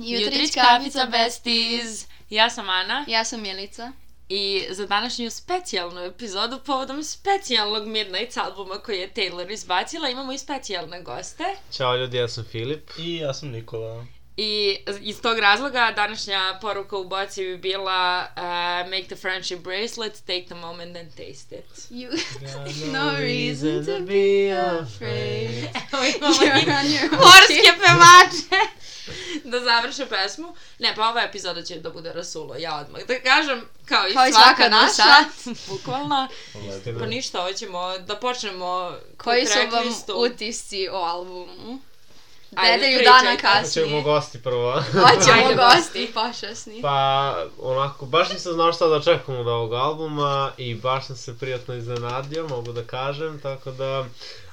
Jutrić kafica besties! Ja sam Ana Ja sam Milica. i za današnju specijalnu epizodu povodom specijalnog Midnight albuma koji je Taylor izbacila imamo i specijalne goste Ćao ljudi, ja sam Filip. I ja sam Nikola. i iz tog razloga današnja poruka u boci bi bila uh, make the friendship bracelet, take the moment and taste it. You... Got No reason to be afraid. Evo imamo i You're on your own. horske pevače da završe pesmu. Ne, pa ova epizoda će da bude rasulo, ja odmah da kažem, kao i, Kao i svaka, svaka do naša, sad. bukvalno. Istina. Pa ništa, hoćemo da počnemo Koji po su vam tracklistu. utisci o albumu? Ajde, Nedelju pričaj. dana Hoćemo kasnije. gosti prvo. Hoćemo Ajde, gosti pošasni. pa, onako, baš nisam znao šta da očekujem od ovog albuma i baš sam se prijatno iznenadio, mogu da kažem, tako da...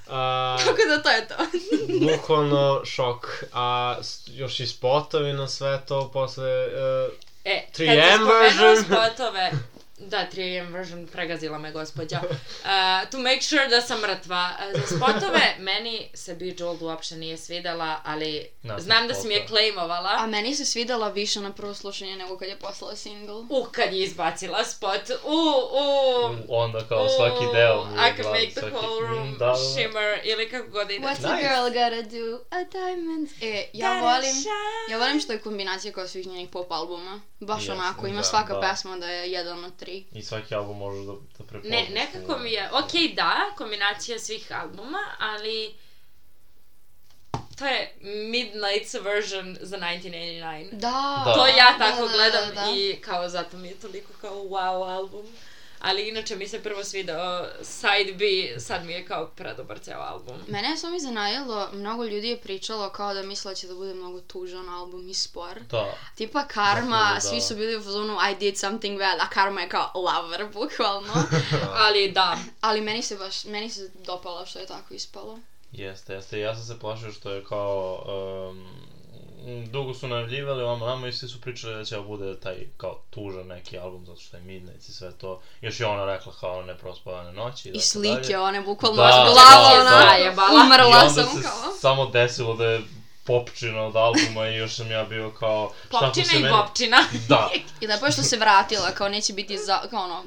a, Tako da to je to. bukvalno šok. A s- još i spotovi na sve to, posle... e, E, 3M kad sam spomenula version. spotove, da, 3M version, pregazila me gospođa. Uh, to make sure da sam mrtva. Uh, za spotove, meni se Be Jolt uopšte nije svidela, ali Nakon znam da si mi je spota. A claimovala. meni se svidela više na prvo slušanje nego kad je poslala single. U, kad je izbacila spot, u, u, Onda Mm, kao u, svaki deo. mu je Oh, I can glavi, make the svaki- whole room Mm, da, da. shimmer, ili kako god ide. What's a Nice. girl gotta do? A diamond. E, ja Gotta volim... shine. Ja volim što je kombinacija kao svih njenih pop albuma. Baš Jasno, onako, ima da, svaka da. pesma da je jedan od tri. I svaki album možeš da, da prepoznaš. Ne, nekako mi je, okej da, kombinacija svih albuma, ali to je Midnight's version za 1989. Da. Da. To ja tako da, da, gledam da, da. i kao zato mi je toliko kao wow album. Ali inače mi se prvo svidao Side B, sad mi je kao predobar ceo album. Mene je samo iznenadilo, mnogo ljudi je pričalo kao da misle da će da bude mnogo tužan album i spor. Da. Tipa Karma, Zapravo, da. svi su bili u fazonu I did something bad, a Karma je kao lover, bukvalno. Ali da, Ali meni se baš, meni se dopalo što je tako ispalo. Jeste, jeste. Ja sam se plašio što je kao... Um, dugo su najavljivali ovamo nama i svi su pričali da će ovo bude taj kao tužan neki album zato što je Midnight i sve to. Još je ona rekla kao ne prospavane noći. I tako slike, dalje. one bukvalno Da, da, da, glava, ona, da. Zajebala. umrla I onda sam se kao. samo desilo da je popčina od albuma i još sam ja bio kao... šta ako popčina i se meni- popčina. Da, I lepo je što se vratila, kao neće biti za, kao ono,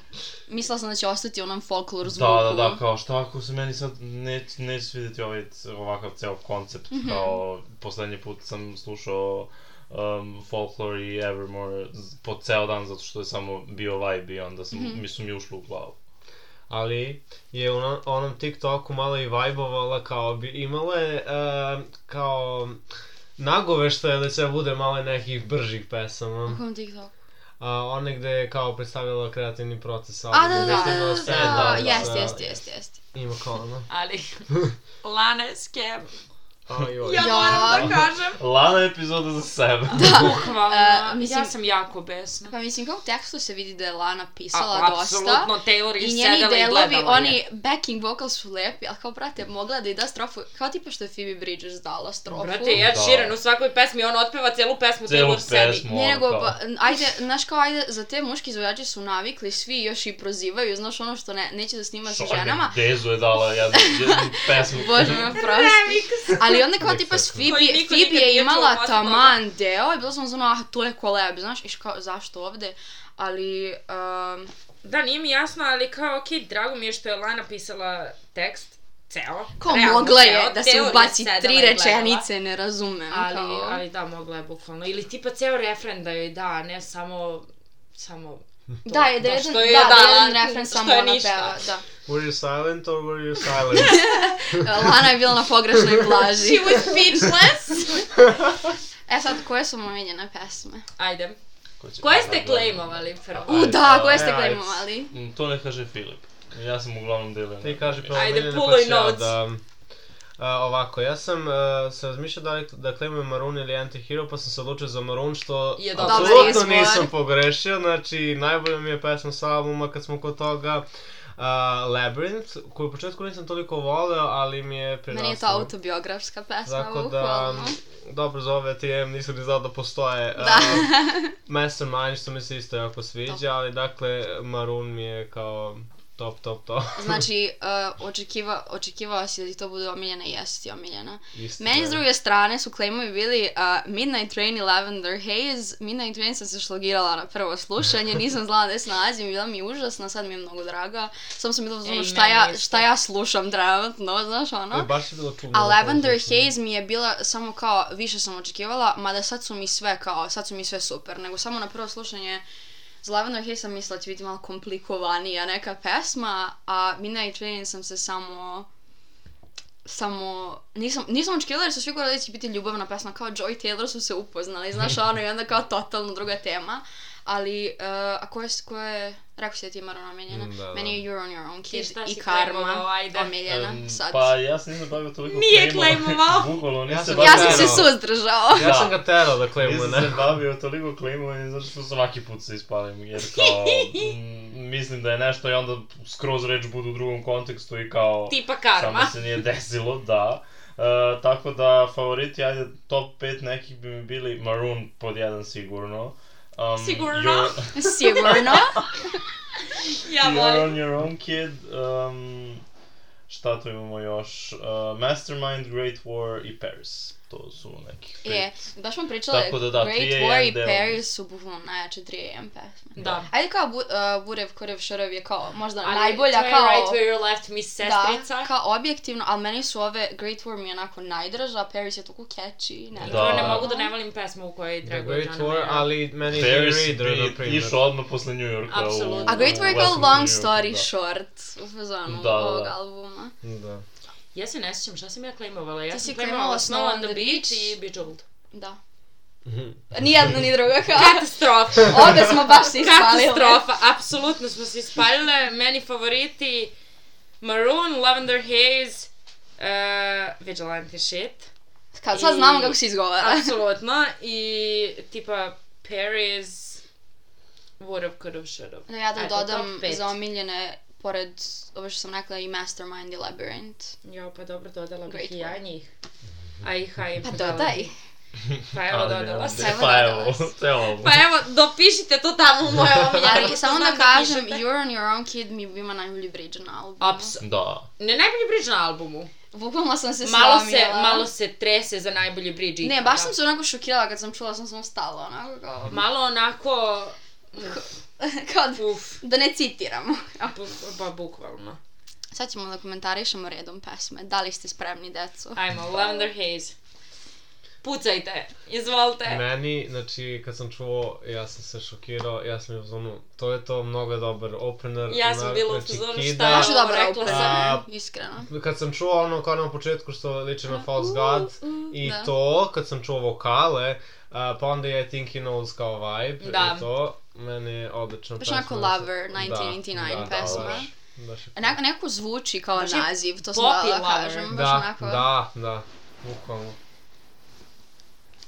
mislila sam da će ostati u onom folklor zvuku. Da, da, da, kao šta ako se meni sad neć, neće svidjeti ovaj, c- ovakav ceo koncept, Mhm. kao poslednji put sam slušao um, Folklore i Evermore z- po ceo dan zato što je samo bio vibe i onda sam, Mhm. mi su mi ušlo u glavu. ali je u onom- onom TikToku malo i vajbovala kao bi imala je e, kao nagoveštaje da će bude malo nekih bržih pesama. U kom TikToku? a, one gde je kao predstavljala kreativni proces A, albuma. da, da, da, gde je da, bilo da, sve, da, da, jest, da, jest, jest, jest. Ima kao ono. Ali, Lana je scam. Oj, oj. Ja moram da kažem. Lana je epizoda za sebe. Bukvalno, E, mislim, mislim- ja sam jako besna. Pa mislim, kao u tekstu se vidi da je Lana pisala A, dosta. apsolutno, Taylor je I njeni sedela i delovi, gledala je. oni backing vocals su lepi, ali kao, brate, mogla da i da strofu, kao tipa što je Phoebe Bridgers dala strofu. Brate, Ed Da. Sheeran u svakoj pesmi, on otpeva celu pesmu Celu Taylor sebi. pesmu. Ne, ono nego, kao. ba, ajde, znaš kao, ajde, za te muški izvođači su navikli, svi još i prozivaju, znaš ono što ne, neće da snima sa ženama, Dezu je dala jednu, jednu pesmu. Bože me prosti. Ali onda kao tipa s Koji Phoebe, niko Phoebe nikad nije je imala čuo posle taman deo i bila sam zvona, ah, to je collab, znaš, iš kao, zašto ovde? Ali, um, Da, nije mi jasno, ali kao, okej, drago mi je što je Lana pisala tekst, ceo. kao realno mogla je ceo, da se Taylor je ubaci sedela i tri gledala. rečenice, ne razumem. Ali, kao. ali da, mogla je bukvalno. Ili tipa ceo refren da joj da, a ne samo... Samo... da, je da, da, jedan, što da, je da, dala, jedan refren što je samo ona ništa. peva, da. Were you silent or were you silent? Lana je bila na pogrešnoj plaži. was speechless! E sad, koje su vam omiljene pesme? Ajde. Ko će- Koje ste claimovali prvo? Ajde, U, da, koje ste ajde. klimovali? Mm, To ne kaže Filip. Ja sam uglavnom delio. Ti kaže prvo Ajde, Miljane, puluj pa ću ja notes. da... A, ovako, ja sam uh, se razmišljao da li da klimujem Maroon ili Anti-Hero, pa sam se odlučio za Maroon, što Je dobar apsolutno izbor. nisam pogrešio, znači najbolja mi je pesma sa albuma kad smo kod toga. Uh, Labyrinth, koju u početku nisam toliko voleo, ali mi je prirasla. Meni je to autobiografska pesma, Tako da, um, bukvalno. dobro za ove TM nisam ni znao da postoje. Da. Uh, Mastermind što mi se isto jako sviđa, ali dakle Maroon mi je kao top, top, top. Znači, uh, očekiva, očekivala si da ti to bude omiljena i jesi ti omiljena. Istina. Meni s druge strane su claimovi bili uh, Midnight Train i Lavender Haze. Midnight Train sam se šlogirala na prvo slušanje, nisam znala gde se nalazim, bila mi je užasna, sad mi je mnogo draga. Samo sam bila u fazonu Ej, šta, meni ja, isto. šta ja slušam trenutno, znaš ono. E, baš je bilo čudno. A na tom Lavender slušanju. Haze mi je bila samo kao, više sam očekivala, mada sad su mi sve kao, sad su mi sve super, nego samo na prvo slušanje za Lavender Haze sam mislila da će biti malo komplikovanija neka pesma, a Midnight Train sam se samo samo, nisam, nisam očekivala jer su svi govorili da će biti ljubavna pesma, kao Joy Taylor su se upoznali, znaš ono i onda kao totalno druga tema, ali, uh, a koje, koje, rekao si da ti je Marona omiljena, Mm, da, da. meni je You're on your own kid šta i si claimovao, Karma ajde. omiljena, Em, sad. Pa ja se nisam bavio toliko Nije claimova. claimovao. Bukvalno, Ja nisam sam- bavio- Ja sam se Naravno. suzdržao. Ja sam ga terao da klemu, Nisam se ne? bavio toliko klimovanje zato što svaki put se ispalim jer kao m, mislim da je nešto i onda skroz reč budu u drugom kontekstu i kao Tipa samo karma. se nije desilo, da. E, tako da favoriti, ajde, top 5 nekih bi mi bili Maroon pod jedan sigurno. Um, Sigurno? You're, Sigurno. Ja you're volim. on your own kid. Um, šta tu imamo još? E, Mastermind, Great War i Paris. To su neki. Je, baš smo pričale, Tako da da, Great 3 War AM i deo. Paris su bukvalno najjače 3 AM pesme. Da. Ajde kao bu, uh, Burev, Korev, Šorev je kao možda Ali najbolja to je kao... Right where you left me sestrica. Da, kao objektivno, ali meni su ove Great War mi je onako najdraža, Paris je toliko catchy, ne znam. I prvo ne Da. mogu da ne volim pesmu u kojoj The Drago Great War, ali meni je Paris The Reader, na bi primjer. išao odmah posle New Yorka. u- Apsolutno. A Great War je u kao Western long New Yorku, story da. short u fazonu Da, da, ovog da. albuma. Da. Ja se ne sjećam, šta sam ja claimovala? Ja Ti si sam claimovala claimovala Snow on the Beach i Bejeweled. Da. Mhm. Ni jedno ni drugo kao. Katastrofa. Obe smo baš se ispalile. Katastrofa, apsolutno smo se ispalile. Meni favoriti Maroon, Lavender Haze, uh, Vigilante Shit. Kad sad I- znamo kako se izgovara. Apsolutno. I tipa Paris, Would have, could have, should have. Da ja da dodam za omiljene, pored ovo što sam rekla i Mastermind i Labyrinth. Jo, pa dobro, dodala bih Great i one. ja njih. A i Haim. Pa dodaj. Pa evo, Ali ne, dodala sam. Sve Pa dodala evo, sam. ceo album. Pa evo, dopišite to tamo u moje omiljene. Ali pošto samo da znam kažem, pišete. You're on your own kid mi ima najbolji bridge na albumu. Aps, Da. ne najbolji bridge na albumu. Bukvalno sam se Malo se, slomila. malo se trese za najbolji bridge. Ne, ikada. baš sam se onako šokirala kad sam čula, sam sam stala onako kao, Malo onako... kao da, Uf, da ne citiramo. bu- ba, bukvalno. Sad ćemo da komentarišemo redom pesme. Da li ste spremni, deco? Ajmo, Lavender Haze. Pucajte, izvolite. Meni, znači, kad sam čuo, ja sam se šokirao, ja sam je uzmano, to je to, mnogo je dobar opener. Ja sam onak, bila u znači, fazonu kida. šta je Baš ovo, dobra rekla opera, sam. iskreno. Kad sam čuo ono kao na početku što liče na False God i Uh, da. to, kad sam čuo vokale, a, pa onda je Think He Knows kao vibe Da. i to, meni je odlična Baš onako Lover 1989 pesma. baš, baš je Onako, nekako zvuči kao Baš je naziv, to sam poppy da lover. kažem. Baš Da, onako... da, da, bukvalno.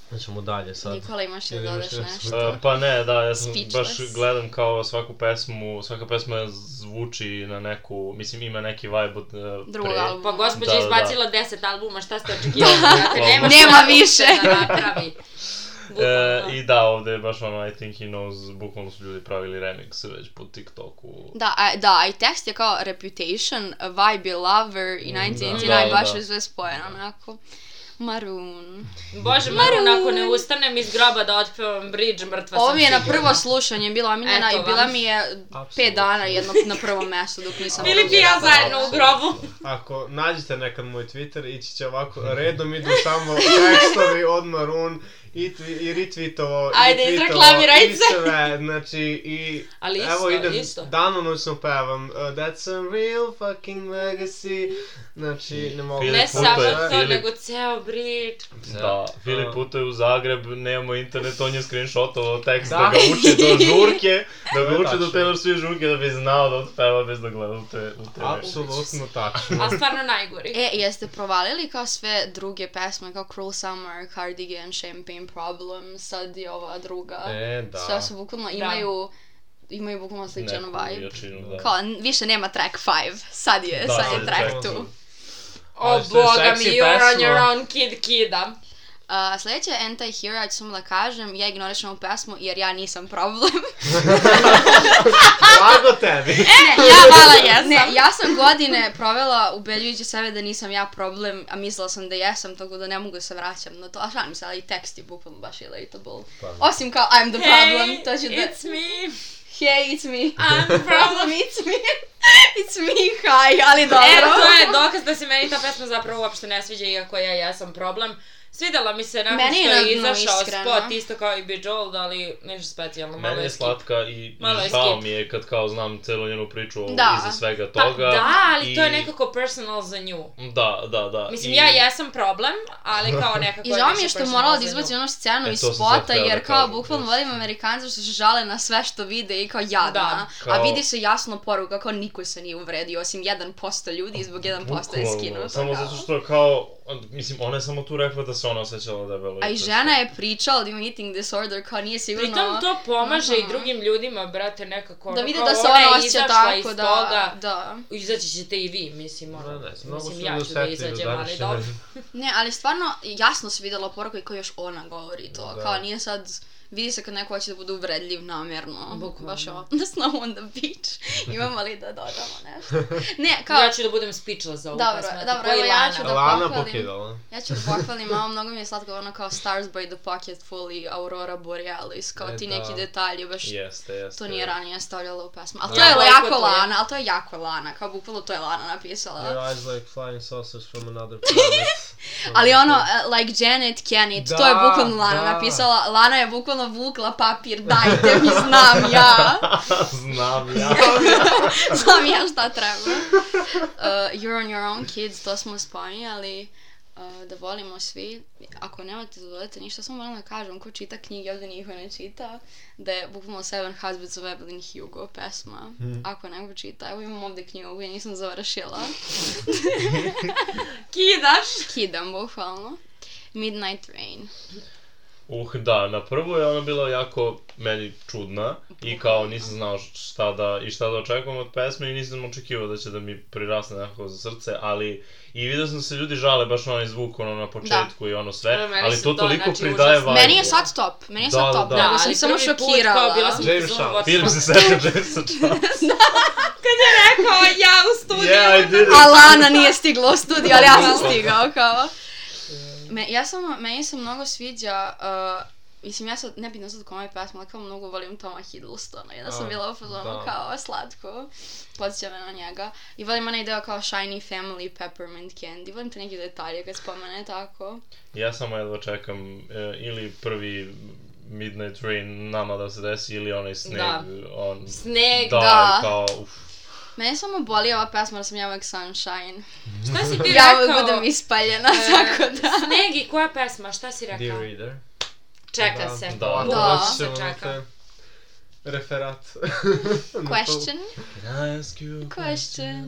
Znači mu dalje sad. Nikola imaš da Ili imaš dodaš nešto? nešto? E, pa ne, da, ja sam Speechless. baš gledam kao svaku pesmu, svaka pesma zvuči na neku, mislim ima neki vibe od uh, Drugog pre. albuma. Pa gospođa Da, je da, da. izbacila 10 albuma, šta ste očekivali? Znate, nema, Nema šta više. Da napravi. E, Bukvalno. I da, ovde je baš ono I think he knows, bukvalno su ljudi pravili remix već po TikToku. Da, a, da, a i tekst je kao Reputation, a Vibe je Lover i Mm, da. 1989, Da, da, baš da. je sve spojeno, onako. Maroon. Bože, Marun, ako ne ustanem iz groba da otpevam bridge, mrtva Ovo sam mi je na sigurna. prvo slušanje bila omiljena Eto i bila vam. mi je pet dana jedno na prvom mestu dok nisam Filip i ja zajedno u grobu. Ako nađete nekad moj Twitter, ići će ovako, redom idu samo tekstovi od Maroon i, twi- i retweetovo, Ajde, i tweetovo, izreklamiraj i se. sve, znači, i Ali evo isto, idem, isto. danonoćno pevam, uh, that's a real fucking legacy, znači, ne mogu. Ne Ne Filip samo putuje, to, Filip. nego ceo bridge. Da, Filip putuje u Zagreb, nemamo internet, on je screenshotovao tekst da. Da. ga uči do žurke, da To je ga uči do tačno. Taylor Swift žurke da bi znao da otpeva bez da gleda u te, u te Apsolutno tačno. A stvarno najgori. E, jeste provalili kao sve druge pesme, kao Cruel Summer, Cardigan, Champagne Problem, sad i ova druga. E, da. Sve su bukvalno, imaju, imaju bukvalno sličan neku vibe. jačinu, da. Kao, n- više nema track 5, sad je, Da, sad sad je je track track 2. two. O Ali što je boga mi, seksi you're on pesma. your own kid kida. Uh, sljedeća je Anti-Hero, ja ću samo da kažem, ja ignorišem ovu pesmu jer ja nisam problem. Blago tebi. ne, ja vala jesam. Ne, ja sam godine provela ubedjujući sebe da nisam ja problem, a mislila sam da jesam, tako da ne mogu da se vraćam na to. A šalim se, ali i tekst je bukvalno baš relatable. Pa, Osim kao I'm the problem, Hey, to ću da... it's me, Hey, it's me. I'm the problem. Problem, it's me. It's me, hi, ali dobro. Evo, E, to je dokaz da se meni ta pesma zapravo uopšte ne sviđa, iako ja jesam problem. Svidela mi se nakon Meni je što je naravno izašao iskreno. spot, isto kao i Bejeweled, ali nešto specijalno, malo Meni je skip. slatka i, i Malo je žao skip. mi je kad kao znam celu njenu priču Da. iza svega Pa, toga. da, ali to je i- nekako personal za nju. Da, da, da. Mislim, I- ja jesam problem, ali kao nekako Pa I žao mi više je što je personal morala da za izbaci nju. onu scenu E, iz to sam sad spota, hteo da jer kao kažem, bukvalno yes. volim Amerikanca što se žale na sve što vide i kao jadna. Da, A kao- vidi se jasno poruka kao niko se nije uvredio, osim 1% ljudi i zbog 1% je Bukvalno, skinuto. Samo kao. zato što kao, mislim, ona je samo tu rekla da se ona osjećala debelo. A i to žena je pričala da ima eating disorder, kao nije sigurno... Pritom to pomaže Mhm. i drugim ljudima, brate, nekako. da ono, vide kao, da se je ona osjeća izašla tako iz da... toga. Da. Izaći ćete i vi, mislim, Da, ono, ne, mnogo su mislim, ja ću da nedosetivi u izađem, ali današnje dobro. vreme. Ne, ali stvarno jasno se vidjela poruka i koju još ona govori to. Da. Kao nije sad... Vidi se kad neko hoće da bude uvredljiv namjerno. Bukvalno. Baš ovo, the snow on the beach. Imamo li da dodamo nešto? Ne, kao... Ja ću da budem speechless za ovu pa Dobro, pesmu. dobro, ko i evo ja Lana. ću da- Lana pohvalim. pokidala. Ja ću pohvalim, malo mnogo mi je slatko ono kao Stars by the Pocket Full i Aurora Borealis, kao E, ti da. neki detalji, baš Jeste, jeste. to nije ranije stavljala u pesmu. Ali to Ja je jako bojkotujem. Lana, ali to je jako Lana, kao bukvalno to je Lana napisala. Your eyes like flying saucers from another planet. Ali ono, eh, like Janet Kennett, to je Da, bukvalno Lana da. napisala. Lana je bukvalno vukla papir, dajte mi, znam ja. Znam ja. Znam ja šta treba. Uh, you're on your own kids, to smo spominjali. Uh, da volimo svi. Ako nemate da dodate ništa, samo moram da kažem, ko čita knjige, ovdje niko ne čita, da je bukvalno Seven Husbands of Evelyn Hugo pesma. Hmm. Ako neko čita, evo imam ovdje knjigu koju nisam završila. Kidaš! Kidam, bukvalno. Midnight Rain. Uh, da, na prvu je ona bila jako meni čudna i kao nisam znao šta da, i šta da očekujem od pesme i nisam očekivao da će da mi prirasne nekako za srce, ali i vidio sam da se ljudi žale baš na onaj zvuk ono na početku i ono sve, Ono, meni ali se to to, toliko znači, pridaje užasno. vibe. Meni je sad top, meni je sad Da, top, da, nego sam ali samo prvi put, kao, šokirala. bila sam- James Zonu, Shaw. what- Film se seća Jamesa Charlesa. Kao ja u studiju! Yeah, I did it. Alana nije stigla u studiju, ali ja sam stigao, kao. Me, ja samo, meni se mnogo sviđa, uh, mislim ja sad, ne bitno sad kome je pesma, ali kao mnogo volim Toma Hiddlestona, jedna sam A, bila u fazonu da. kao slatko, podsjeća me na njega. I volim onaj deo kao Shiny Family Peppermint Candy, volim te neke detalje kad spomene tako. Ja samo jedva čekam e, ili prvi Midnight Rain nama da se desi ili onaj sneg, Da. on... Sneg, Da, da. i kao, uf. Mene samo boli ova pesma da sam ja uvijek sunshine. Šta si ti Ja uvijek rekao? budem ispaljena, E, tako da. Sneg i koja pesma, šta si rekao? Dear reader. Čeka se. Da. Ovako Da. doći ćemo Se na čeka. taj Referat. Question? Can I ask you a Question.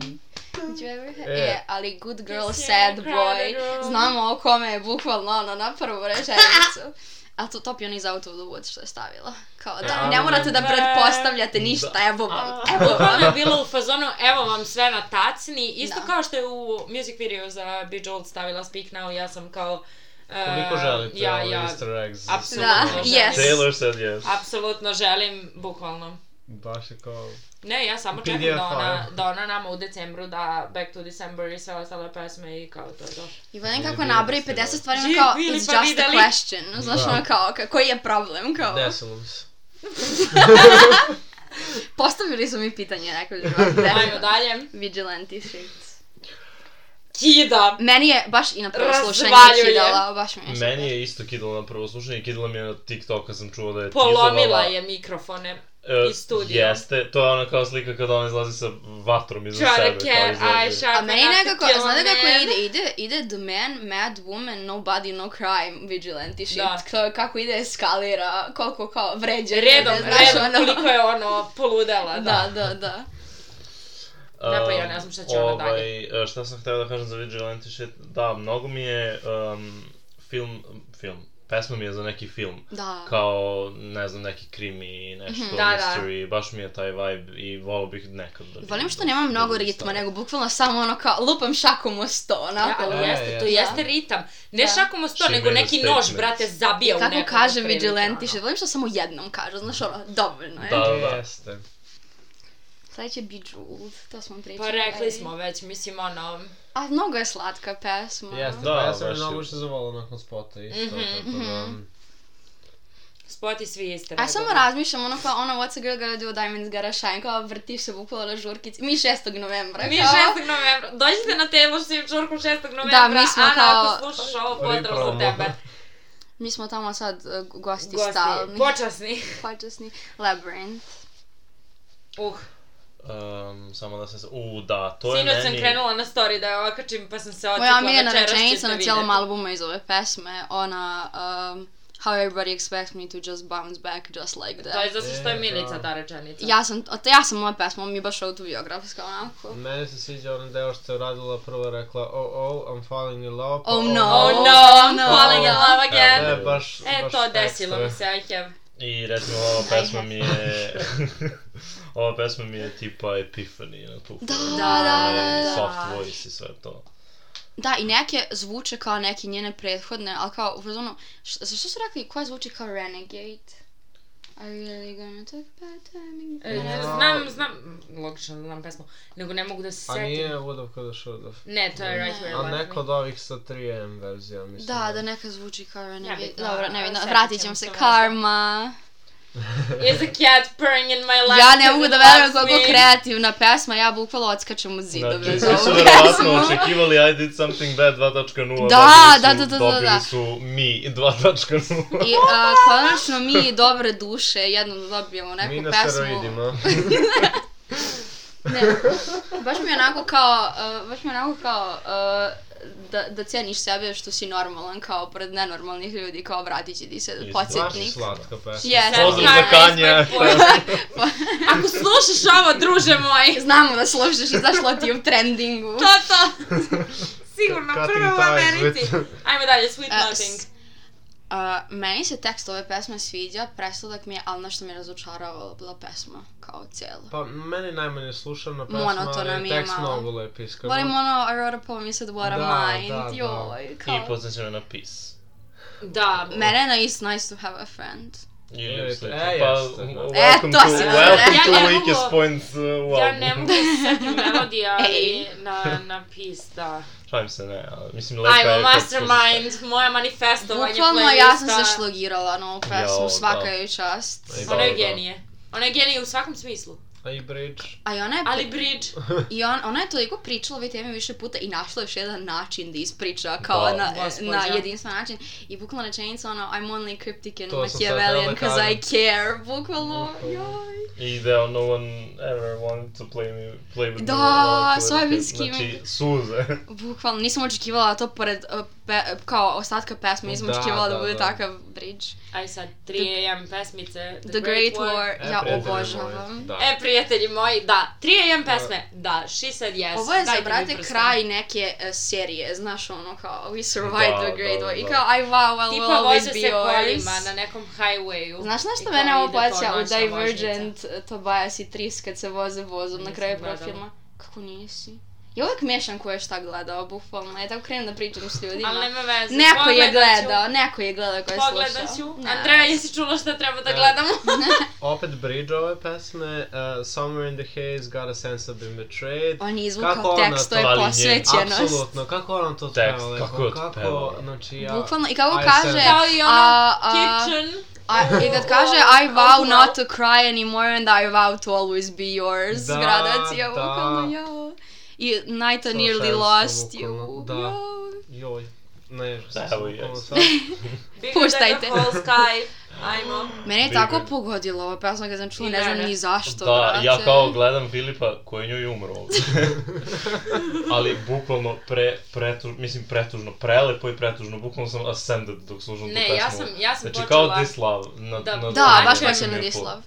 Did you ever have... E. E, ali good girl, Yes, yeah, sad crowded boy. room. Znamo o kome je bukvalno ono na prvu rečenicu. A to top je on iz Out of the Woods što je stavila. Kao da, A, ne morate da da. pretpostavljate ništa, evo vam, evo Bukvalno je vam. bilo u fazonu, evo vam sve na tacni, isto Da. kao što je u music video za Bejeweled stavila Speak Now, ja sam kao... e, Koliko želite ja, ove ja, easter eggs? apsolutno. Da, Apsolutno. yes. Taylor said yes. Apsolutno želim, bukvalno. Baš je kao... Ne, ja samo čekam PDF da ona, file. da ona nama u decembru da Back to December i sve ostale pesme i kao to je to. I volim Bili kako bi nabroji jednostavno. 50 stvari, ono Živi kao, bili it's pa just a videli. question. Znaš Da. ono kao, ka- koji je problem, kao. Desilus. Postavili su mi pitanje, rekli bi vam. Ajmo dalje. Vigilante shades. Kida! Meni je baš i na prvo slušanje Razvaljuje. kidala, baš mi je super. Meni je isto kidala na prvo slušanje i kidala mi je na TikToku kad sam čuo da je Polomila tizovala, je mikrofone. e, iz studija. Jeste, to je ona kao slika kada ona izlazi sa vatrom iza Try sebe. to kao care, izlazi. I shall A meni not nekako, kill a znate kako man. ide? Ide, ide The Man, Mad Woman, Nobody, No Crime, Vigilante shit. Da. Kao- kako ide eskalira, koliko kao vređa. Redom, ljude, znaš, redom, ono. koliko je ono poludela, da. Da, da, da. Da, pa ja ne znam šta će ona dalje. Ovaj, e, šta sam htio da kažem za Vigilante shit? Da, mnogo mi je um, film, film, pesma mi je za neki film. Da. Kao, ne znam, neki krimi, nešto, Mhm, da, da. mystery, baš mi je taj vibe i volao bih nekad da... Volim što nema mnogo ritma, nego bukvalno samo ono kao lupam šakom o sto, Da, onako. ali E, jeste, to jeste. jeste ritam. Ne Da. šakom o sto, She nego made a neki nož, statement. brate, zabija u Kako nekog. kaže otprilike, Vigilante, ono. što volim što samo jednom kaže, znaš ono, dovoljno je. Da. Jeste. Sledeće Bejeweled, to smo pričali. Pa rekli smo već, mislim ono... A mnogo je slatka pesma. Jeste, Da, pa ja sam je baš je. mnogo što zavolao nakon spota Mm-hmm, isto, Mhm, tako da... Spoti svi iste. A ja samo razgovore. razmišljam, ono kao, ono, "Oh no, what's a girl gotta do, diamonds gotta shine, kao vrtiš se bukvalo na žurkici. Mi 6. novembra, Mi kao. 6. novembra, dođite na Taylor Swift žurku 6. novembra, Da, mi smo Ana, kao- ako slušaš ovo, Ripramo. pozdrav za tebe. Mi smo tamo sad uh, gosti, Gosti, stalni. počasni. Počasni. Labyrinth. Uh, Um, samo da sam se... U, da, to je sinoć meni... sam krenula na story da je okačim, pa sam se odsjekla Moja večeras. omiljena ćete rečenica na cijelom vidjeti. albumu iz ove pesme, ona, um, how everybody expects me to just bounce back just like that. To je zato što je E, Milica da. ta rečenica. Ja sam, a to ja sam moja pesma, mi je baš autobiografska onako. Meni se sviđa onaj deo što je radila prvo rekla oh oh I'm falling in love. oh. pa Oh no. Oh no, Oh, I'm no. falling in love Evo, again. Ne, baš, E, baš to desilo ekstra. mi se, I have. I recimo ova pesma mi je... ova pesma mi je tipa Epiphany na tu Da, foru. da, da, Onaj da. Soft voice i sve to. Da, i neke zvuče kao neke njene prethodne, ali kao u fazonu, š- za što su rekli, koja zvuči kao Renegade? Are you really gonna talk about timing? E, Ne. Znam, znam, logično da znam pesmu, nego ne mogu da Pa se A setim. nije Wood of Could Should of. Ne, to je Right Ne. Where A You neko Want od ovih sa 3M verzija, mislim. Da, da neka zvuči kao Renegade. bitno, Dobro, ne ali vidim, sjetit vratit ćemo ćemo se. se možda. Karma. Me. Is a cat purring in my life. Ja ne mogu da verujem Loves koliko me. kreativna pesma, ja bukvalo odskačem od zidove. Znači, za svi su ovu verovatno pesmu. očekivali I did something bad 2.0, Da, dobili su- da, da, da, da, da. Dobili su mi 2.0. I a, konačno mi dobre duše jednom da dobijemo neku Mi na pesmu. steroidima. Ne, baš mi je onako kao, uh, baš mi je onako kao uh, da, da ceniš sebe što si normalan kao pored nenormalnih ljudi, kao vratit će ti se Isto. Baš podsjetnik. slatka pesma. Yes. Pozdrav Karma za Kanje. ispred pojma. Ako slušaš ovo, druže moj, Znamo da slušaš, izašlo ti je u trendingu. to to. Sigurno, Cutting prvo u ties Americi. with- Ajmo dalje, Sweet E, Nothing. s- a, meni se tekst ove pesme sviđa, presladak mi je, ali nešto mi je razočaravala pesma kao cijela. Pa meni najmanje slušana pesma, Monotona mi ali je tekst malo. mnogo lep iskreno. Volim ono, I wrote a poem, you said what a Pa- Da, mind, da, da. joj, kao. I poznaćeno na PIS. Da, Mene na It's nice to have a friend. Je, E, jeste. jeste, Pa, da. welcome E, to to, si welcome rekla. to Ja ne mogu- weakest points uh, u Ja albumu. ne mogu se setim melodije, ali Ej. na, na pis, da. Šalim se, ne, ali mislim lepa je... Ajmo, kad Mastermind, moje manifestovanje Bukvalno pa ja sam se šlogirala na ovu pesmu, Jao, svaka da. joj čast. slušaš. Ona je Da, da. genije. Ona je genije u svakom smislu. A i bridge. A i ona je, Ali Bridge, i on, ona je toliko pričala o ovoj temi više puta i našla još jedan način da ispriča kao Da, na, gospođa. na jedinstven način. I bukvalno rečenica ono, I'm only cryptic and To sam sad Machiavellian htjela da cause I care. Bukvalno, Bukvalno. joj. I da no one ever wanted to play, me, play with Da, me. while I was sva je a kid. miskimik. Znači, suze. Bukvalno, nisam očekivala to pored, uh, pe, kao ostatka pesme, nisam Da, očekivala da, da, bude da. takav bridge. aj sad 3am pesmice, The, Great War, E, ja prijatelji moji, obožavam. Da. E, prijatelji moji, da, 3am pesme, da, she said yes. Ovo je za dajte mi brate prste. kraj neke e, serije, znaš ono kao We survived Da, the Great da, War i da. kao I wow, well, will Tipa always voze be se yours. kolima na nekom highwayu. Znaš na I što kao mene ovo ide to podsjeća u noćna vožnjica. Divergent, e, Tobias i Tris kad se voze vozom na Nisam kraju gledala. profilma? Kako nisi? Ja uvijek mešam ko je šta gledao, bukvalno. Ja tako krenem da pričam s ljudima. Ali nema veze. Neko je pogledat ću. gledao, neko je gledao ko je slušao. Pogledat ću. Ne. Andreja, jesi čula šta treba da Ne. gledamo? Opet bridge ove pesme, uh, Somewhere in the Haze, Got a Sense of Being Betrayed. On je Kako izvukao ona tekst, to to je vali njen? posvećenost. Apsolutno, kako ona to Tekst, otpevala, kako je otpevala. znači ja... Bukvalno, i kako I kaže, sense- Kao i a, ono, a, kitchen. I, I kad kaže I vow not to cry anymore and I vow to always be yours, Da, gradacija, da. bukvalno, jao. "Oh, I night I Slušaj, nearly sam lost you, bukvalno, da. jao. Joj, ne, Da, sam evo bukvalno jes. sad- Bigger Puštajte. than the whole sky. Ajmo. Mene je Bigger. tako pogodilo ova pesma kad sam čula, I ne znam mene. ni zašto, da, brate. ja kao gledam Filipa koji je njoj umro ovdje. Ali bukvalno pre, pretu, mislim pretužno, prelepo i pretužno, bukvalno sam ascended dok slušam tu Ne, pesmu. ja sam- ja sam počela- znači, kao Dislav. Na, Da. na, Da, na baš Ajde, baš je nekom na nivou. Dislav.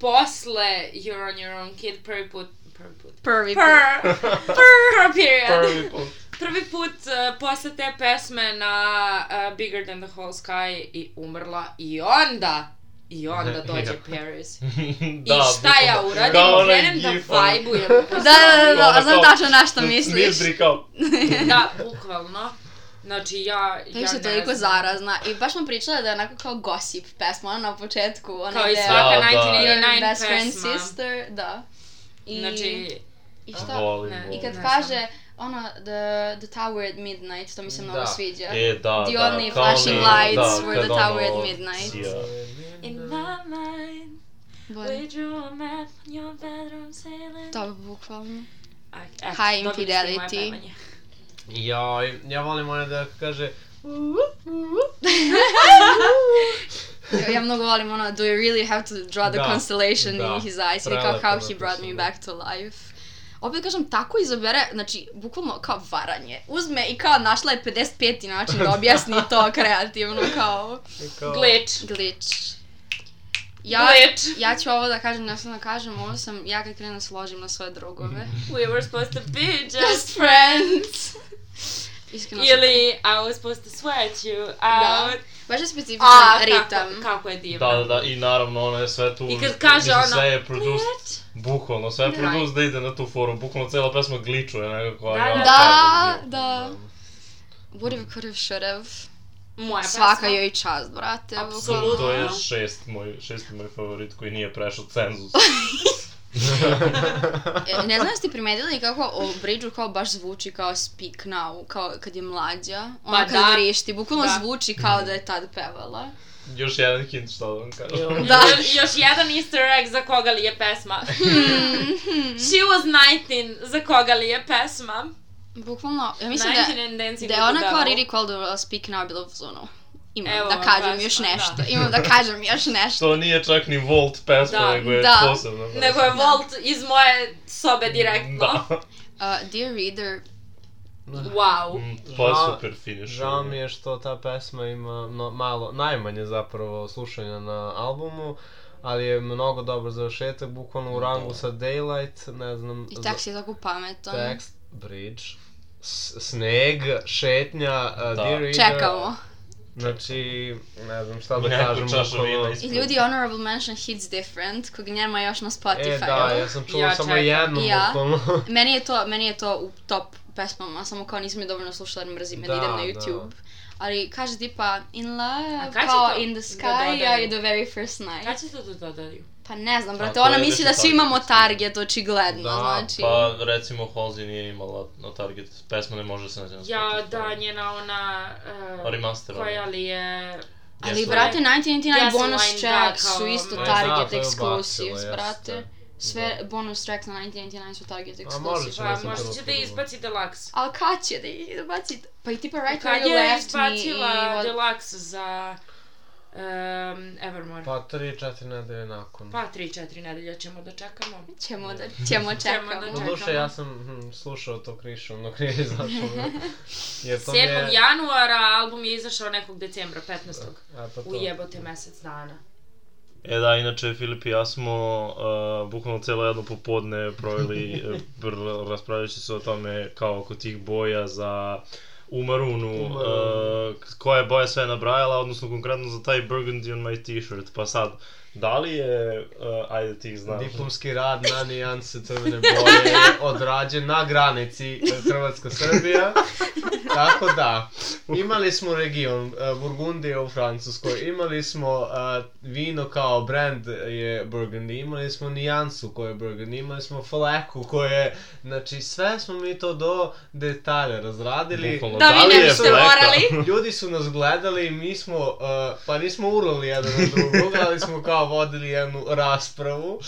Posle You're on your own kid prvi put. Prvi put. Prvi put. Prr. Prr period. Prvi put. prvi put uh, posle te pesme na uh, Bigger Than The Whole Sky i umrla i onda I onda dođe Ja. Paris. da, I šta ja bukvalno. uradim? Kao onaj Krenem da gif, ono. vajbujem. Da, da, da, da, Ono znam kao- tačno na što misliš. Smirdri kao, da, bukvalno. Znači ja, To je ja više toliko zarazna. I baš smo pričale da je onako kao gossip pesma, ona na početku. Ona Kao i gde- sva svaka Da, da. Your 1989 best friend pesma. sister, da. I, Znači, i volim, šta? volim. ne, I kad Ne kaže ono, the, the tower at midnight, to mi se mnogo Da. sviđa. E, da, The da, only kao flashing ono, lights da, were the kad tower ono at midnight. sija. In my mind, Bolje. we drew a map on your bedroom ceiling. To bukvalno. Aj, eto, High dobili ste i moje infidelity. pevanje. Joj, ja volim ona da kaže Ja- ja mnogo volim ono, do you really have to draw the Da, constellation da. ono in his eyes, ili kao Prelepo how he napisano. brought me back to life. Opet kažem, tako izabere, znači, bukvalno kao varanje. Uzme i kao našla je 55. način da objasni to kreativno, kao kao... Glitch. glitch. Ja, Glitch. ja ću ovo da kažem, ja sam da kažem, ovo sam, ja kad krenem se ložim na svoje drugove. Mhm. We were supposed to be just Just friends! Iskreno sam- Ili, I was supposed to sweat you Da. out. Ah, Baš je specifičan A, ritam. kako, kako je divno. Da, da, da, i naravno ona je sve tu... I kad kaže mislim, ono, Sve je produced, Glitch. bukvalno, sve je Da. produced da ide na tu foru, bukvalno cela pesma gličuje nekako. Da, ali da. ona Da, tako, da. bukvalno. Would have, could have, should have. Moja Svaka pesma. joj čast, brate. bukvalno. Apsolutno. To je šest moj, šesti moj favorit koji nije prešao cenzus. E, Ne znam jesi ti primetila i kako o Bridgeu kao baš zvuči kao speak now, kao kad je mlađa. Ona Pa kad da. vrišti, bukvalno Da. zvuči kao da je tad pevala. Još jedan hint šta da vam kažem. Da. Još, još jedan easter egg za koga li je pesma. Mm. She was 19, za koga li je pesma. Bukvalno, ja mislim 19 da, and dancing da je with ona the kao devil. Riri Caldwell speak now bila u zonu. Imam Evo da vam kažem pesma, još da. nešto, imam da kažem još nešto. Što nije čak ni Volt pesma, Da, nego je da. posebna pesma. Nego je Volt iz moje sobe direktno. Da. Uh, dear reader, Wow. Mm, Pa Žao- super finish. Žao mi je što ta pesma ima no, malo, najmanje zapravo slušanja na albumu, ali je mnogo dobar završetak, bukvalno u rangu sa Daylight, ne znam... i za- tekst je tako pametan. tekst, bridge, s- sneg, šetnja, da. Dear Reader. Čekamo. Znači, ne znam šta da Neku kažem. čašu bukvalno- vina iz- I ljudi, honorable mention hits different, kog nema još na Spotify. E, da, ja sam čuo Ja samo čekam. jednu, Ja. bukvalno. Meni je to, meni je to u top pesmama, samo kao nisam je dovoljno slušala jer mrzim je da, Da, idem na da. YouTube. Ali kaže tipa in love, A kad će kao to in the da sky dodaju? are you the very first night. Kad će to da dodaju? Pa ne znam, brate, to je ona misli da već svi imamo target. target, očigledno, Da, znači. Pa recimo Halsey nije imala na target, pesma ne može da se naći na Ja, Spotify. da, njena ona... A Uh, remasterovana. koja li je... Ali, Jesu. brate, 1999 Jesu, bonus line, da, tracks kao, su isto ma- E, target da, to je exclusives, ubacila, brate. jeste. Sve bonus tracks na 1999 su target A možda exclusives. će Pa, da se možda će da prvo izbaci Deluxe. Ali kad će da ih bacit? Pa i tipa Right Where Kad You je Left Me i... izbacila what- Deluxe za... Um, Evermore. Pa tri, četiri nedelje nakon. Pa, 3-4 nedelja ćemo da čekamo. Ćemo da, ćemo čekamo. čekamo. Doduše, ja sam hm, slušao to krišom dok nije izašao. Jer to 7. mi je... januara, album je izašao nekog decembra, 15. A, pa to. Ujebote mesec dana. E da, inače Filip i ja smo uh, bukvalno celo jedno popodne proveli eh, pr- raspravljajući se o tome kao oko tih boja za Umarunu, Umarunu. uh, koja je boja sve nabrajala, odnosno konkretno za taj burgundy on my t-shirt, pa sad, da li je, uh, ajde ti ih znaš, Diplomski rad na nijanse crvene boje je odrađen na granici Hrvatska-Srbija. Tako da, imali smo region, e, Burgundija u Francuskoj, imali smo e, vino kao brand je Burgundy, imali smo nijansu koja je Burgundy, imali smo fleku koja je, znači sve smo mi to do detalja razradili. Bukvalno, Da, vi li je ne biste fleka? morali. Ljudi su nas gledali i mi smo, uh, pa nismo urlali jedan na drugog, ali smo kao vodili jednu raspravu.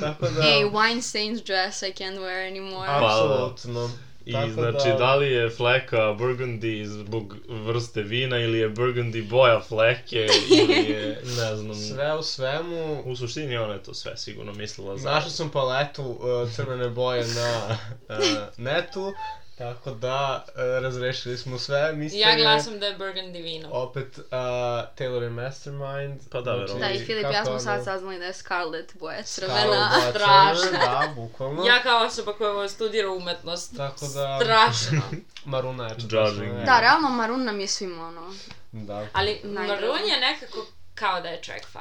Tako da, Hey, Weinstein's dress I can't wear anymore. A- apsolutno. I Tako znači, da... li je fleka Burgundy zbog vrste vina ili je Burgundy boja fleke ili je, ne znam, Sve u svemu, u suštini ona je to sve sigurno mislila za... našao sam paletu uh, crvene boje na uh, netu. Tako da, e, razrešili smo sve misterije. Ja glasam da je Burgundy vino. Opet a, Taylor je Mastermind. znači, Pa da, verovatno. Da, i Filip, ja smo kako ono, sad saznali da je Scarlett boja Scarlet crvena. boja crvena, Da, bukvalno. Ja kao osoba koja studira umetnost. Tako da- Strašno. Maruna je Judging. četvrta. Da, realno Marun nam je svima ono. Da. Ali Najgore. Maroon je nekako kao da je track 5.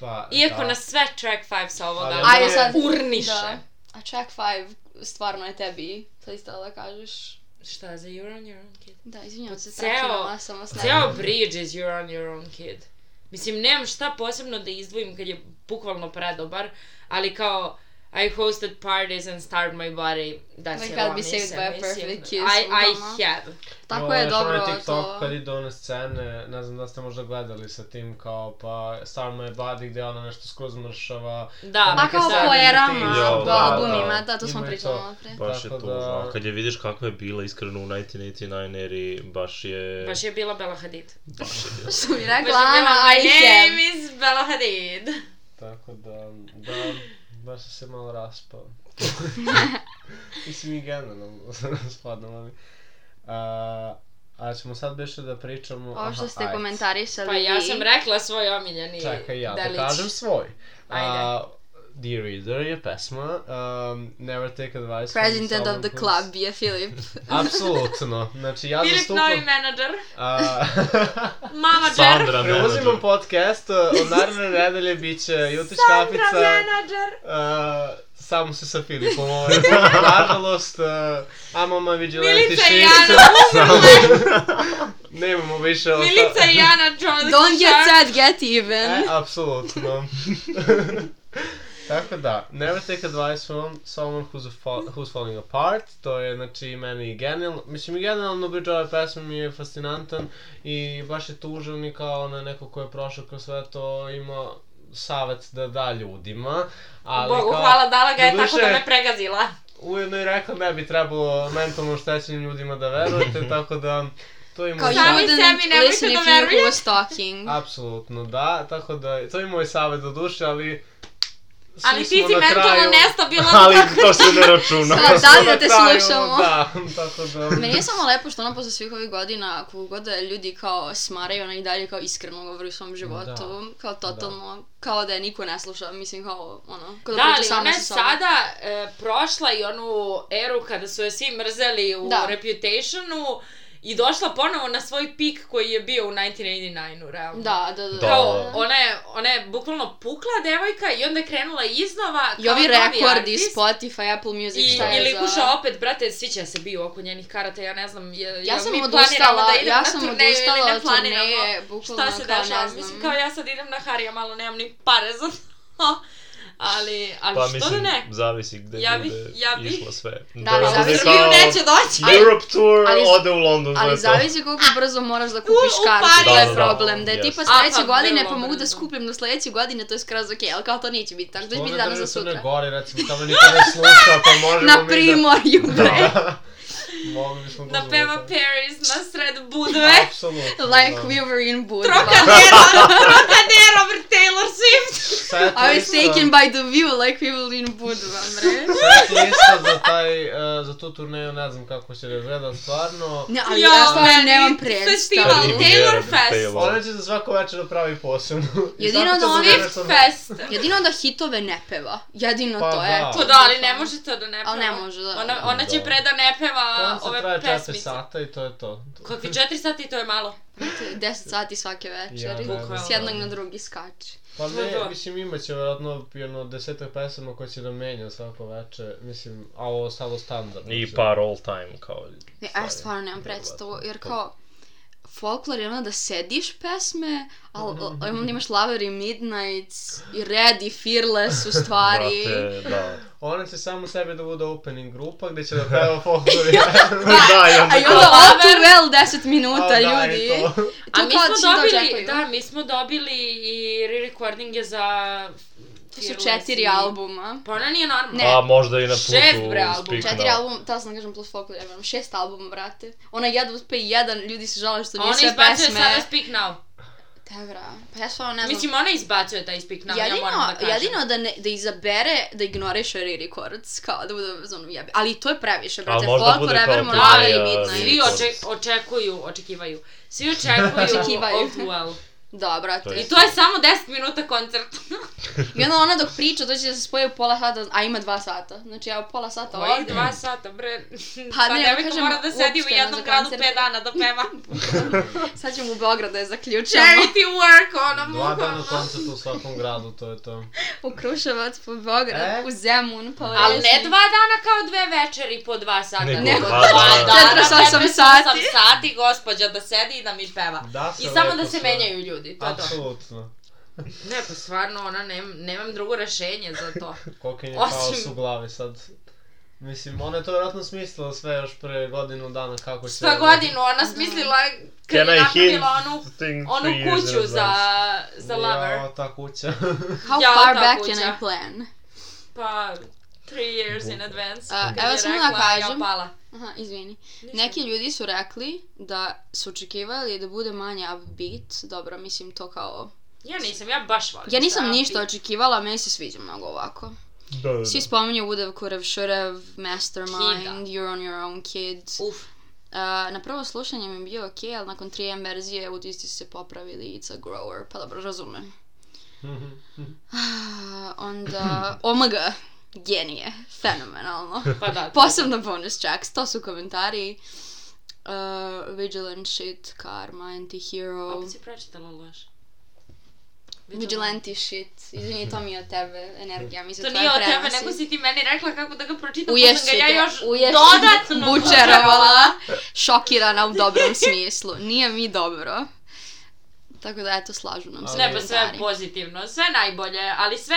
Pa, Iako da. na sve track 5 sa ovog Ali albuma Ajde sad. urniše. Da. A Track 5 stvarno je tebi. Sad istala da kažeš. Šta je za You're on your own kid? Da, izvinjam se, Ceo- trakirala sam vas. Ceo bridge is You're on your own kid. Mislim, nemam šta posebno da izdvojim kad je bukvalno predobar, ali kao I hosted parties and starved my body. Da se Like I'll be lomi saved se, by a mislim. perfect kiss, I, bukvalno. I have. Tako Ovo je još onaj dobro TikTok to. kad idu one scene, ne znam da ste možda gledali sa tim kao pa Star My Body gdje ona nešto skroz mršava. Da, Pa Pa kao neke po zadnje erama, ti- Jo, po da, albumima, da. da, to smo Ima i to. pričali malo pre. Baš je Tako to da- užasno. Kad je vidiš kakva je bila iskreno u 1989 eri, baš je... baš je bila Bella Hadid. Baš je bilo. Što mi Baš je rekla bila, Ana, my I have. name is Bella Hadid. Tako da, da, baš sam se malo raspao. Mislim i generalno spadno, ali... A, a ćemo sad beše da pričamo... Ovo što aha, ste ajde. komentarisali Pa ja vi. sam rekla svoj omiljeni Čekaj, ja da delić. kažem svoj. Ajde. A, Dear Reader je pesma, um, Never Take Advice. from President of Someone the Who's- club je Filip. Apsolutno. Znači, ja Filip novi zastupam... menadžer, A, mama džer. Sandra Preuzimam menadžer. podcast, uh, od naredne nedelje bit će Jutić Sandra Kapica. menadžer. Uh, samo se sa Filipom ovaj. Nažalost, uh, a mama vigilante Milica i shit. Jana, Nemamo više osta- Milica i Jana Jones. Don't get Shark. sad, get E, even. apsolutno. Tako da, Never Take Advice from Someone Who's, a fa- who's Falling Apart, to je znači meni genijalno, mislim i generalno bridge ove pesme mi je fascinantan i baš je tužan i kao onaj neko ko je prošao kroz sve to ima savet da da ljudima, ali Bogu kao, hvala, dala ga je tako da Doduše- me pregazila. ujedno i rekla ne bi trebalo mentalno oštećenim ljudima da verujete, tako da to ima Kao i you Sami savet. wouldn't sebi nemojte listen da if you who verujete. was talking. Apsolutno da, tako da to je moj savjet do duše, ali svi Ali ti smo si na mentalno kraju- nestabilna. Ali to se ne računa. Sad, da li da te Na kraju, slušamo? Da, tako da... Meni je samo lepo što ono posle svih ovih godina, koliko god da ljudi kao smaraju, ona i dalje kao iskreno govori o svom životu, Da. kao totalno, kao da je niko ne sluša, mislim kao ono, kao da, priča Da, ali ona sama je sa sobom. sada e, prošla i onu eru kada su je svi mrzeli u Da. Reputationu i došla ponovo na svoj pik koji je bio u 1989-u, realno. Da, da, da. Da. Kao, ona je, ona je bukvalno pukla devojka i onda je krenula iznova I kao ovi novi rekordi, artist. Spotify, Apple Music, I, šta je ili za... kuša opet, brate, svi će se bio oko njenih karata, ja ne znam, je, Ja jel sam mi odustala, planiramo da idemo ja na sam turneju ili odustala ne od planiramo? turneje, bukvalno Šta se kao ne dešava? znam. Mislim, kao ja sad idem na Harija, malo nemam ni pare za to. Ali, ali Pa što mislim, da ne? zavisi gde Ja bih- bude ja bih- išlo sve. Da, To ali ne bude zavisi- Srbiju kao neće doći. Ah, Europe tour ali- ode u London, to Ali je to. zavisi koliko brzo moraš da kupiš U- u kartu, Pariz. to je Da, da, da. problem. Da je Yes. tipa A, pa, sledeće godine, vrlo pa mogu da brzo. skupim do sledeće godine, to je skroz okej, ali kao to neće biti, tako da će biti danas za Crne sutra. Gore, recimo, tamo niko ne sluša, pa možemo Na mi primorju, da... bre. Da. Mogli bismo Na da Pema zvuka. Paris, na sred Budve. Apsolutno. Like da. we were in Budva. Trokadero, Trokadero, br- Taylor Swift. Set I was lista- taken by the view like we were in Budva, bre. set lista za, taj, e, za tu turneju, ne znam kako će da izgleda stvarno. Ne, ali Jo, ja, stvarno meni nemam festival predstavu. Riviera Taylor di Fest. Taylor. Ona će za svako večer da pravi posebno. I Jedino tako da to ona- bude Swift nešto- Fest. Jedino da hitove ne peva. Jedino Pa to je. da. Pa da, ali ne može to da ne peva. Ali ne može da- Dakle, Ona, ona će Da. pre da ne peva Koncert ove traje 4 pesmice. sata i to je to. Kakvi 4 sata i to je malo. 10 sati svake Ja, večeri. bukvalno. S jednog na drugi skači. Pa To je to. ne, mislim imat će vjerojatno jedno desetak pesama koje će da menja svako večer. Mislim, a ovo ostalo standardno. I par all time, kao... Ne, a E, ja stvarno nemam predstavu, jer kao folklor je ono da sediš pesme, ali onda imaš Lover i Midnights i Red i Fearless u stvari. Brate, da. Ona će samo sebe da bude opening grupa gde će da peva folklor. da, i A i onda onda kao... all too well 10 minuta, da, ljudi. i to. I to A mi kao smo Chinda dobili, Jacklin. da, mi smo dobili i re-recordinge za... To Fearless su četiri i- albuma. Pa ona nije normalna. Ne. A možda i na putu Šef, bre, album. speak Četiri now. album, tada sam kažem plus folklor, ja imam šest albuma, brate. Ona jedva uspe i jedan, ljudi se žale što A nije ona sve izbacuje pesme. sada Speak Now. Tevra. Pa ja stvarno ne znam. Mislim, ona izbacuje taj speak now, ja moram da jedino, kažem. jedino da, ne, da izabere da ignoriše Riri Chords, kao da bude zonom jebe. Ali to je previše, brate. Ali možda Folk bude kao Forever, taj, Morale i uh, Midnight. Svi oče, očekuju, očekivaju. Svi očekuju Očekivaju. Old Well. Da, brate. To je I to je samo 10 minuta koncert. I onda ona dok priča, to će da se spoje u pola sata, a ima dva sata. Znači ja u pola sata Koji ovdje. dva sata, bre. Pa ne, Pa ne, ja kažem, mora da sedi u uopšteno jednom za gradu koncert. 5 dana da peva. Sad ćemo u Beograd da je zaključamo. Charity work, ono, Dva dana bukvalno. koncerta u svakom gradu, to je to. u Kruševac, po Beograd, E? u Zemun, pa u Ali ne Resnik. dva dana kao dve večeri po dva sata. Nego nego dva dana. 48 48 sati. sati, gospođa, da sedi i da mi peva. Da se I samo lepo da se sve. menjaju ljudi, to je to. Apsolutno. Ne, pa stvarno, ona, nem, nemam drugo rešenje za to. Kokin je Osim- kaos u glavi sad. Mislim, ona je to vjerojatno smislila sve još pre godinu dana kako će... Šta godinu, ona smislila kad je napravila onu, thing onu three years in kuću za, advance? za lover. Jao, ta kuća. How Ja, far ta back kuća. can I plan? Pa, three years in advance. A, kad evo je samo da rekla, kažem. Ja pala. Aha, izvini. Ništa. Neki ljudi su rekli da su očekivali da bude manje upbeat. Dobro, mislim to kao... Ja nisam, ja baš volim. Ja nisam terapi. ništa očekivala, meni se sviđa mnogo ovako. Da, da, da. Svi spominju Udev, Kurev, Šurev, Mastermind, Kida. You're on your own kid. Uf, Uh, na prvo slušanje mi je bio okej, ali nakon 3M verzije utisci su se popravili, it's a grower, pa dobro, razumem. Ah, onda, OMG, genije, fenomenalno. pa da. Posebno bonus tracks, to su komentari. Uh, vigilant shit, karma, anti-hero. Opet si pročitala loš. Vigilanti shit, izvini, to mi je od tebe, energija mi se To tvoja nije od tebe, prenosi. nego si ti meni rekla kako da ga pročitam, pa sam Uješće ga te, ja još uješće te dodatno bučerovala, šokirana u dobrom smislu. Nije mi dobro. Tako da, eto, slažu nam se Ali- Ne, pa sve komentari. pozitivno, sve najbolje, ali sve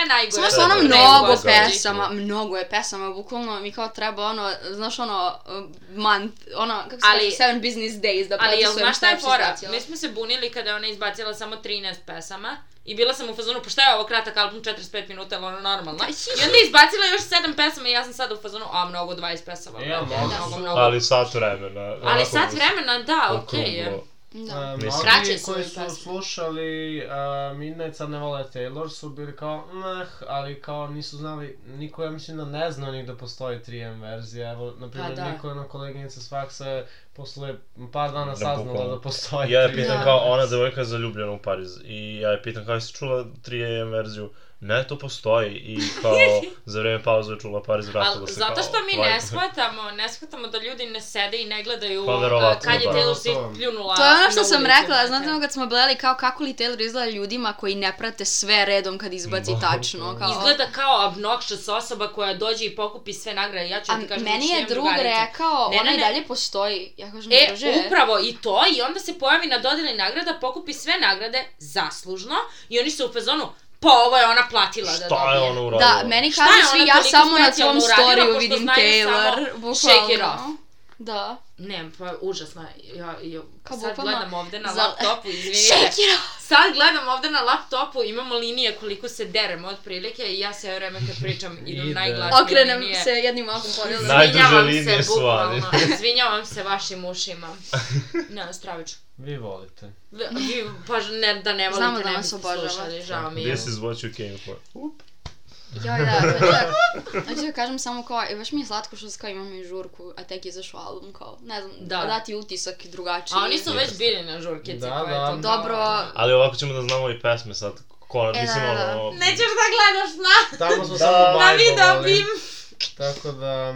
Samo najgore. su Da, ono da, da. mnogo Gospođi. pesama, mnogo je pesama, bukvalno mi kao treba ono, znaš ono, uh, month, ono, kako se Ali- kaže, seven business days da Ali jel propisujem znaš šta je uopšte fora? izbacila. Mi smo se bunili kada je ona izbacila samo 13 pesama i bila sam u fazonu, pa šta je ovo kratak album 45 minuta, ali ono normalno. I onda je izbacila još 7 pesama i ja sam sad u fazonu, a mnogo 20 pesama. Ja, brate, mnogo mnogo, su. mnogo. E, Ali, Ali sat vremena. onako, sat vremena, da, okej je. okruglo. Da. E, Mislim. Kraće Mnogi su koji i su pesme. slušali uh, Midnight sad ne vole Taylor su bili kao meh, ali kao nisu znali, niko ja mislim da ne zna ni da postoji 3M verzija. Evo, na primjer, Pa da. niko na koleginica s faksa je posle par dana Da, saznala bukvalno. da postoji Ja je 3M. pitan kao, ona devojka je zaljubljena u Pariz i ja je pitan kao, jesi čula 3AM verziju? Ne, to postoji i kao za vreme pauze je čula Pariz vratila Ali, se zato kao, što mi "Lajk." ne shvatamo, ne shvatamo da ljudi ne sede i ne gledaju Pa, uh, verovatno, kad je da. Taylor Swift pljunula To je ono što na sam ulicu, rekla, brate. znate ono kad smo gledali kao kako li Taylor izgleda ljudima koji ne prate sve redom kad izbaci Da. tačno, kao... Izgleda kao obnoxious osoba koja dođe i pokupi sve nagrade. Ja ću A ti kažem, meni je mišljenje drug drugarice. rekao, Ne, ne, ona i ne. dalje postoji. Ja kažem, E, druže, upravo i to, i onda se pojavi na dodeli nagrada, pokupi sve nagrade zaslužno i oni su u fazonu, pa ovo je ona platila da Šta je ono? dobije. ona uradila? Da, meni Šta je kažu svi, ona ja toliko samo na tvom specijalno uradila, storiju pošto vidim znaju Taylor, samo bukvalno. shake it off? Da. Ne, pa užasno, je. ja, ja Kao sad bukvalno gledam ovde na za- laptopu, izvinite. Shake it off! Sad gledam ovde na laptopu, imamo linije koliko se deremo otprilike i ja sve vreme kad pričam idem Ide. najglasnije Okrenem linije. se jednim okom podjelom. Naj- Najduže Izvinjavam se, linije su, bukvalno. ali- Izvinjavam se vašim ušima. Ne, stravično. Vi volite. V- Vi, pa ne, da ne volite, Znamo da ne vas biste obožavate. slušali, žao mi je. This is what you came for. Up. Joj, da, hoću da, hoću da kažem samo kao, e, baš mi je slatko što kao imamo i žurku, a tek je izašao album, kao, ne znam, Da. da. dati utisak drugačiji. A oni su već Jeste. bili na žurkici, Da, pa je da. to kao- Dobro. Ali ovako ćemo da znamo i pesme sad. Kona, E, mislim da, da, ono... Nećeš da gledaš na, Tamo smo Da. samo na video bajbovali. bim. Tako da...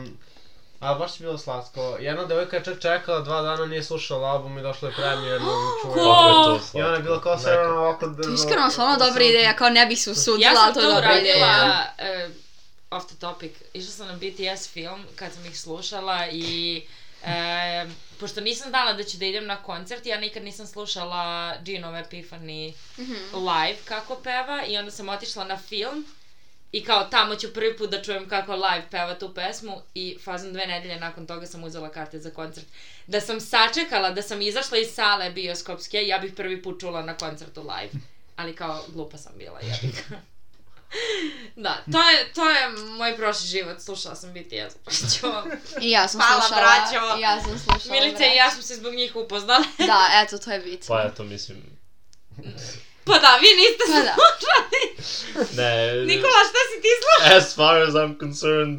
A baš je bilo slatko. Jedna devojka je čak čekala dva dana, nije slušala album i došla je premijerno da čuje. ko? Kako je to I ona je bila kao sve ono ovako... To je iskreno stvarno dobra ideja, kao ne bih se usudila, Ja ali sam to to je dobra ideja. uradila, e, off the topic, išla sam na BTS film kad sam ih slušala i e, pošto nisam znala da ću da idem na koncert, ja nikad nisam slušala Ginove Epiphany live kako peva i onda sam otišla na film i kao tamo ću prvi put da čujem kako live peva tu pesmu i fazom dve nedelje nakon toga sam uzela karte za koncert. Da sam sačekala, da sam izašla iz sale bioskopske, ja bih prvi put čula na koncertu live. Ali kao glupa sam bila, jebika. da, to je, to je moj prošli život, slušala sam BTS. braćo. I ja sam Hvala, slušala. braćo. i Ja sam slušala. Milica i Pa braćo. ja smo se zbog njih upoznali. Da, eto, to je bitno. Pa eto, mislim, Pa da, vi niste Pa da. slušali. Ne. Nikola, šta si ti slušao? As far as I'm concerned,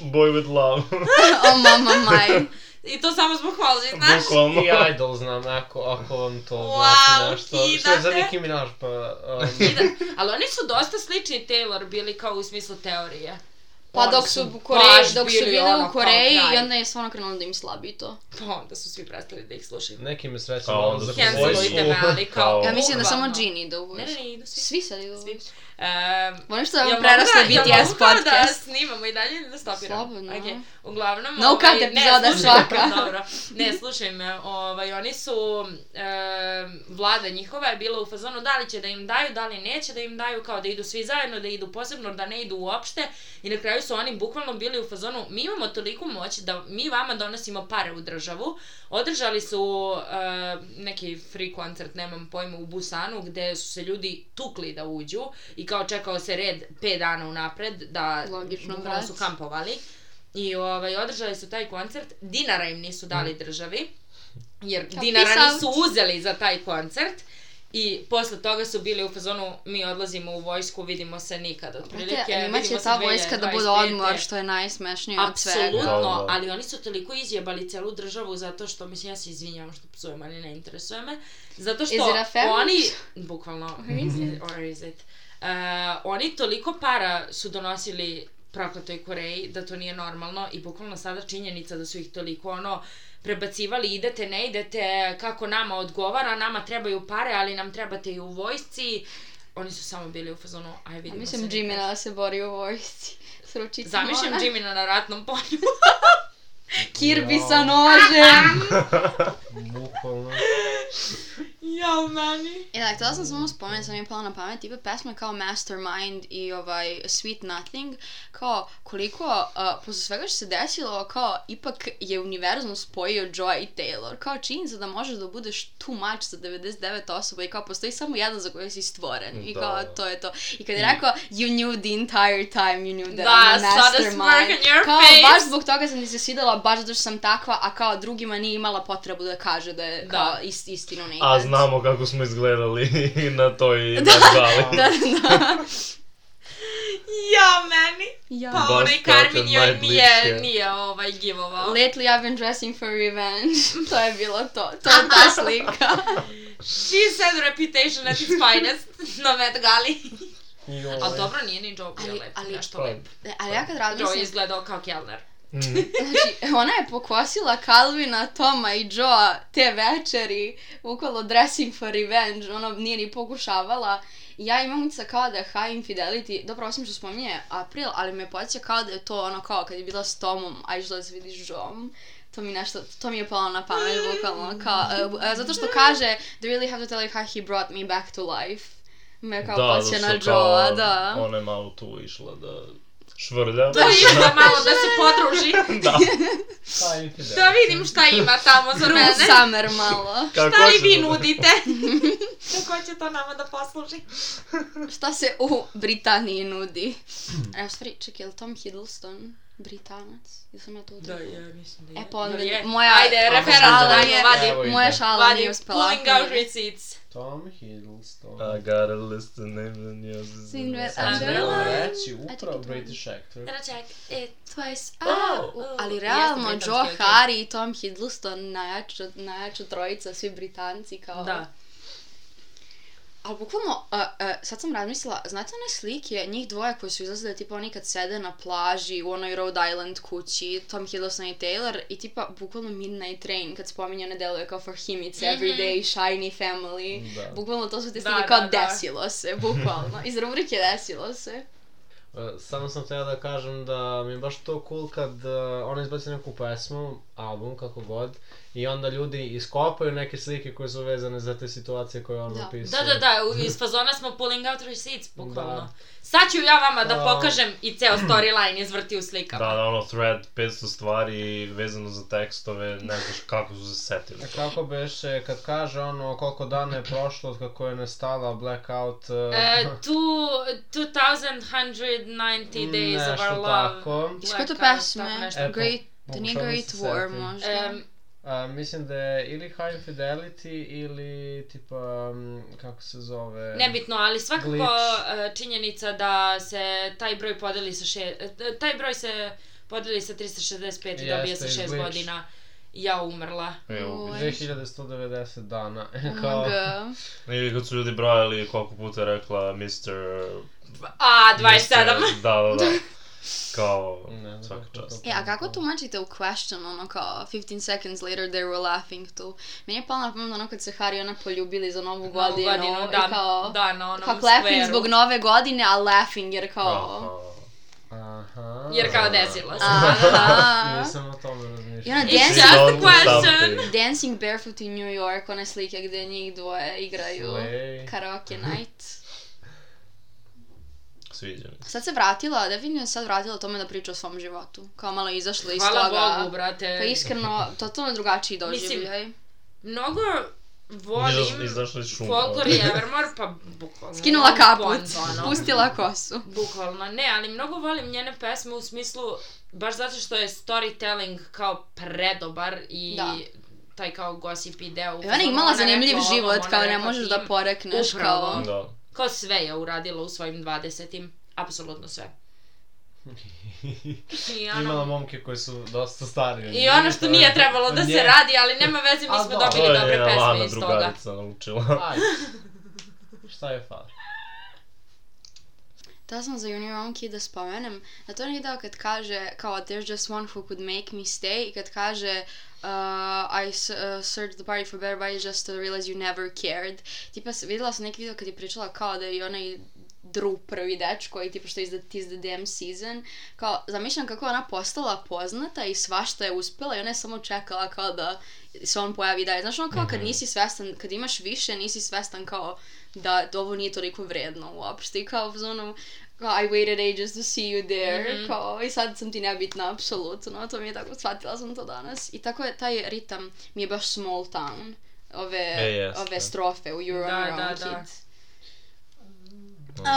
boy with love. O mama maj. I to samo zbog Halži, znaš? Bukvalno. I Idol znam, ako, ako vam to Wow, znači nešto. Što je za kidate. Nicki Minaj, pa... um, Ali oni su dosta slični Taylor bili kao u smislu teorije. Pa Oni dok su, u baš Koreji, dok su bili ono bile u kao Koreji kraj. i onda je stvarno krenulo da im slabi to. Pa onda su svi prestali da ih slušaju. Neki me sreću Kao malo onda za su Cancelujte Cancelujte me, ali kao... Kao- Ja mislim Pa, da samo bukvalno. Gini ide u Ne, ne, ne, idu svi. Svi sad idu u Svi. vojsku. Ehm, Volim što jel vam mogu preraslo da- jel BTS mogu kao da podcast. snimamo i dalje ili da stopiramo? Slobodno. Okej. Uglavnom, ovaj, No cut epizoda slušaj, svaka. Dobro. Ne, slušaj me, ovaj, oni su, em, vlada njihova je bila u fazonu da li će da im daju, da li neće da im daju, kao da idu svi zajedno, da idu posebno, da ne idu uopšte. I na kraju su oni bukvalno bili u fazonu, mi imamo toliku moć da mi vama donosimo pare u državu. Održali su em, neki free koncert, nemam pojma, u Busanu, gde su se ljudi tukli da uđu i kao čekao se red 5 dana unapred da Logično, bukvalno brat. su kampovali. I ovaj, održali su taj koncert, dinara im nisu dali državi, jer Kao peace dinara out. nisu uzeli za taj koncert. I posle toga su bili u fazonu, mi odlazimo u vojsku, vidimo se nikad, otprilike. Brate, njima će vidimo se ta vojska da bude 2025.. odmor, što je najsmešnije od svega. Da, da. Apsolutno, ali oni su toliko izjebali celu državu zato što, mislim, ja se izvinjavam što psujem, ali ne interesuje me. Zato što Is it a family? oni, bukvalno, is it or is it? Uh, oni toliko para su donosili prokletoj Koreji da to nije normalno i bukvalno sada činjenica da su ih toliko ono prebacivali idete, ne idete, kako nama odgovara, nama trebaju pare, ali nam trebate i u vojsci. Oni su samo bili u fazonu, aj Ja vidimo mislim se Jimmy nikad. da se bori u vojsci. S ručicama. Zamišljam Jimina na ratnom polju. Kirby Jao. sa nožem. Bukvalno. Jao, mani. I da, E, htjela sam samo spomenuti, sam mi je pala na pamet, tipa pesme kao Mastermind i ovaj Sweet Nothing, kao koliko, uh, posle svega što se desilo, kao ipak je univerzum spojio Joy i Taylor, kao činjenica da možeš da budeš too much za 99 osoba i kao postoji samo jedan za koji si stvoren i Da. kao to je to. I kad je rekao you knew the entire time, you knew that Da, I'm a sada mastermind, smirk on your kao face. baš zbog toga sam ti se svidela, baš zato što sam takva, a kao drugima nije imala potrebu da kaže da je Da. kao ist, istinu nekad. A znamo kako smo izgledali na toj da. da, da, da. Jao, meni. Ja. Pa Baš onaj tako Carvin joj nije, najbliže. nije ovaj givovao. Lately I've been dressing for revenge. to je bilo to. To je ta slika. She said reputation at its finest na Met Gali. Joj. A dobro, nije ni Joe bio Ali- lep, ali- nešto Ovaj. Pa, lep. E, Ali ja kad Joe je razmislim, izgledao kao kelner. znači, ona je pokosila Calvina, Toma i Joa te večeri, bukvalo dressing for revenge, ono nije ni pokušavala. I Ja imam utisak kao da je High Infidelity, dobro osim što spominje April, ali me podsjeća kao da je to ono kao kad je bila s Tomom, a išla da se vidi s Joom. To mi nešto, to mi je palo na pamet, bukvalno, kao, e, bu- e, zato što kaže, they really have to tell you how he brought me back to life. Me kao da, podsjeća na zato što Joa, kao da. Ona je malo tu išla da švrlja. Da da malo da se podruži, da. Pa, infidel. da vidim šta ima tamo za Cruel mene. summer malo. Kako Šta li će vi da- nudite? Ko će to nama da posluži? Šta se u Britaniji nudi? E, u stvari, čekaj, je li Tom Hiddleston Britanac? Ili sam ja to Da, utrudila? ja mislim da je. E, pa onda Da je. moja- Ajde, Tom referal, Hiddleston. ajmo, vadi. Evo ide. Moja šala Vadi, nije uspela. pulling out receipts. Tom Hiddleston. I got a list of names and yours is in Single the and sun. Umbrella. Želim reći upravo Ajde, British actor. Gonna check it. Twice. Oh, u- oh, ali jeste realno, britanski, Joe okej. Harry i Tom Hiddleston, najjača, najjača trojica, svi Britanci kao... Da. Ali bukvalno, a, a, sad sam razmislila, znate one slike njih dvoje koje su izlazile, tipa oni kad sede na plaži u onoj Rhode Island kući, Tom Hiddleston i Taylor, i tipa bukvalno Midnight Train, kad spominje one deluje kao For Him It's Everyday, Shiny Family, Da. bukvalno to su te Mhm. Da, slike kao da, da. desilo se, bukvalno, iz rubrike desilo se. E, Samo sam htio da kažem da mi je baš to cool kad e, ona izbaci neku pesmu, album, kako god, i onda ljudi iskopaju neke slike koje su vezane za te situacije koje on Da. opisuje. Da, da, da, u- iz fazona smo pulling out receipts, bukvalno. Da. Sad ću ja vama da Da. pokažem i ceo storyline izvrti u slikama. Da, da, ono thread, 500 stvari vezano za tekstove, ne znaš kako su se setili. A Kako beše, kad kaže ono koliko dana je prošlo od kako je nastala Blackout, e, E, tu, 2190 days of Nešto our love. tako. Iz koje to Blackout, pesme? tako nešto. E, pa, Great, to nije pokušavam Great se War setim. možda. Em, A, mislim da je ili High Fidelity ili tipa, um, kako se zove... Nebitno, ali svakako Glitch. e, činjenica da se taj broj podeli sa še, e, taj broj se podeli sa 365 i dobije Jeste, sa 6 Glitch. godina. Ja umrla. Evo, Oj. 2190 dana. Kao... Kao, Ili kad su ljudi brojali koliko puta je rekla Mr. A, 27. Mr. Da, da, da. Kao, Ne znam svaka kako čast. to. E, a kako tumačite u question, ono kao 15 seconds later they were laughing to? Meni je palo na pamet ono kad se Harry i ona poljubili za novu Novu godinu, i da, kao, da, na onom kao clapping skveru. zbog nove godine, a laughing jer kao... Aha. aha. Jer kao desilo se. Aha. Nisam o tome I ona razmišljao. She dancing, Just a knows question. something. dancing barefoot in New York, one slike gdje njih dvoje igraju Slay. Mhm. karaoke night. Sviđa mi se. Sad se vratila, definitivno je sad vratila tome da priča o svom životu. Kao malo je izašla iz Hvala toga. Bogu, brate. Pa iskreno, totalno drugačiji Mislim, doživljaj. Mnogo Izaš- volim Izašla iz šuma. folklor i Evermore, pa bukvalno. Skinula kaput, Bond, ono. pustila kosu. Bukvalno, ne, ali mnogo volim njene pesme u smislu, baš zato što je storytelling kao predobar i Da. taj kao gossip i deo. I ona je ono, imala zanimljiv život, kao ne možeš da po... porekneš, Upravo. kao... Da. Kao sve je uradila u svojim dvadesetim, apsolutno sve. I Imala ono, momke koji su dosta stari. od I nje, ono što to je- nije trebalo da od se nje. radi, ali nema veze, mi A smo da. To dobili dobre je pesme Lana iz toga. drugarica naučila. Ajde. Šta je fal? Htela sam za Junior Romki da spomenem, na to je onaj deo kad kaže, kao, there's just one who could make me stay, i kad kaže, uh, I s- uh, searched the party for better body just to realize you never cared. Tipa, s- videla sam neki video kad je pričala kao da je onaj Drew prvi dečko i tipa što je iz The, Tis the Damn Season. Kao, zamišljam kako je ona postala poznata i svašta je uspela i ona je samo čekala kao da se on pojavi dalje. Znaš ono kao Mhm. kad nisi svestan, kad imaš više nisi svestan kao da ovo nije toliko vredno uopšte i kao u zonu kao I waited ages to see you there Mhm. kao i sad sam ti nebitna apsolutno to mi je tako, shvatila sam to danas i tako je taj ritam mi je baš small town ove, E, jeste. ove strofe u You're Da, on your da, own da. kid Uh,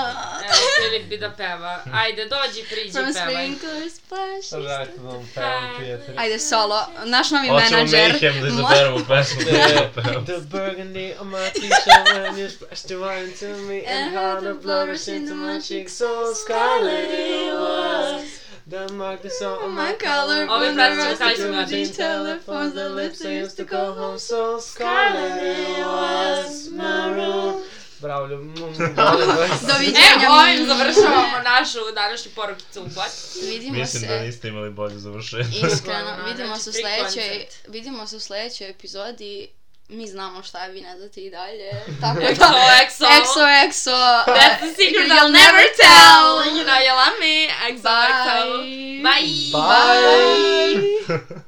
Evo, Filip bi da peva. Ajde, dođi, priđi, From pevaj. sprinkler splash Sad radite da vam pevam, prijatelji. Ajde solo, naš novi Hoćemo menadžer Mayhem da Mo- izaberemo pesmu. The burgundy on my t-shirt when you splashed your wine to me and how the blood rushed into my cheeks so scarlet it Eh, was. The mark the song on Oh my collar Ovi when pratici I rushed ostali su into mi my otišli. telephones the lips I used to go home so scarlet it was my room. Bravo, ljubim. Doviđenja E, ovim završavamo našu današnju porukicu u pot. Vidimo Mislim da se niste imali bolje završenje. Iskreno, Ono, vidimo znači, se u tri sledećoj, koncept. vidimo se u sledećoj epizodi. Mi znamo šta vi ne znate i dalje. Tako da, XO, XO. XO, XO. That's the secret I'll never tell. You know you love me. XOXO. Bye. Bye. Bye.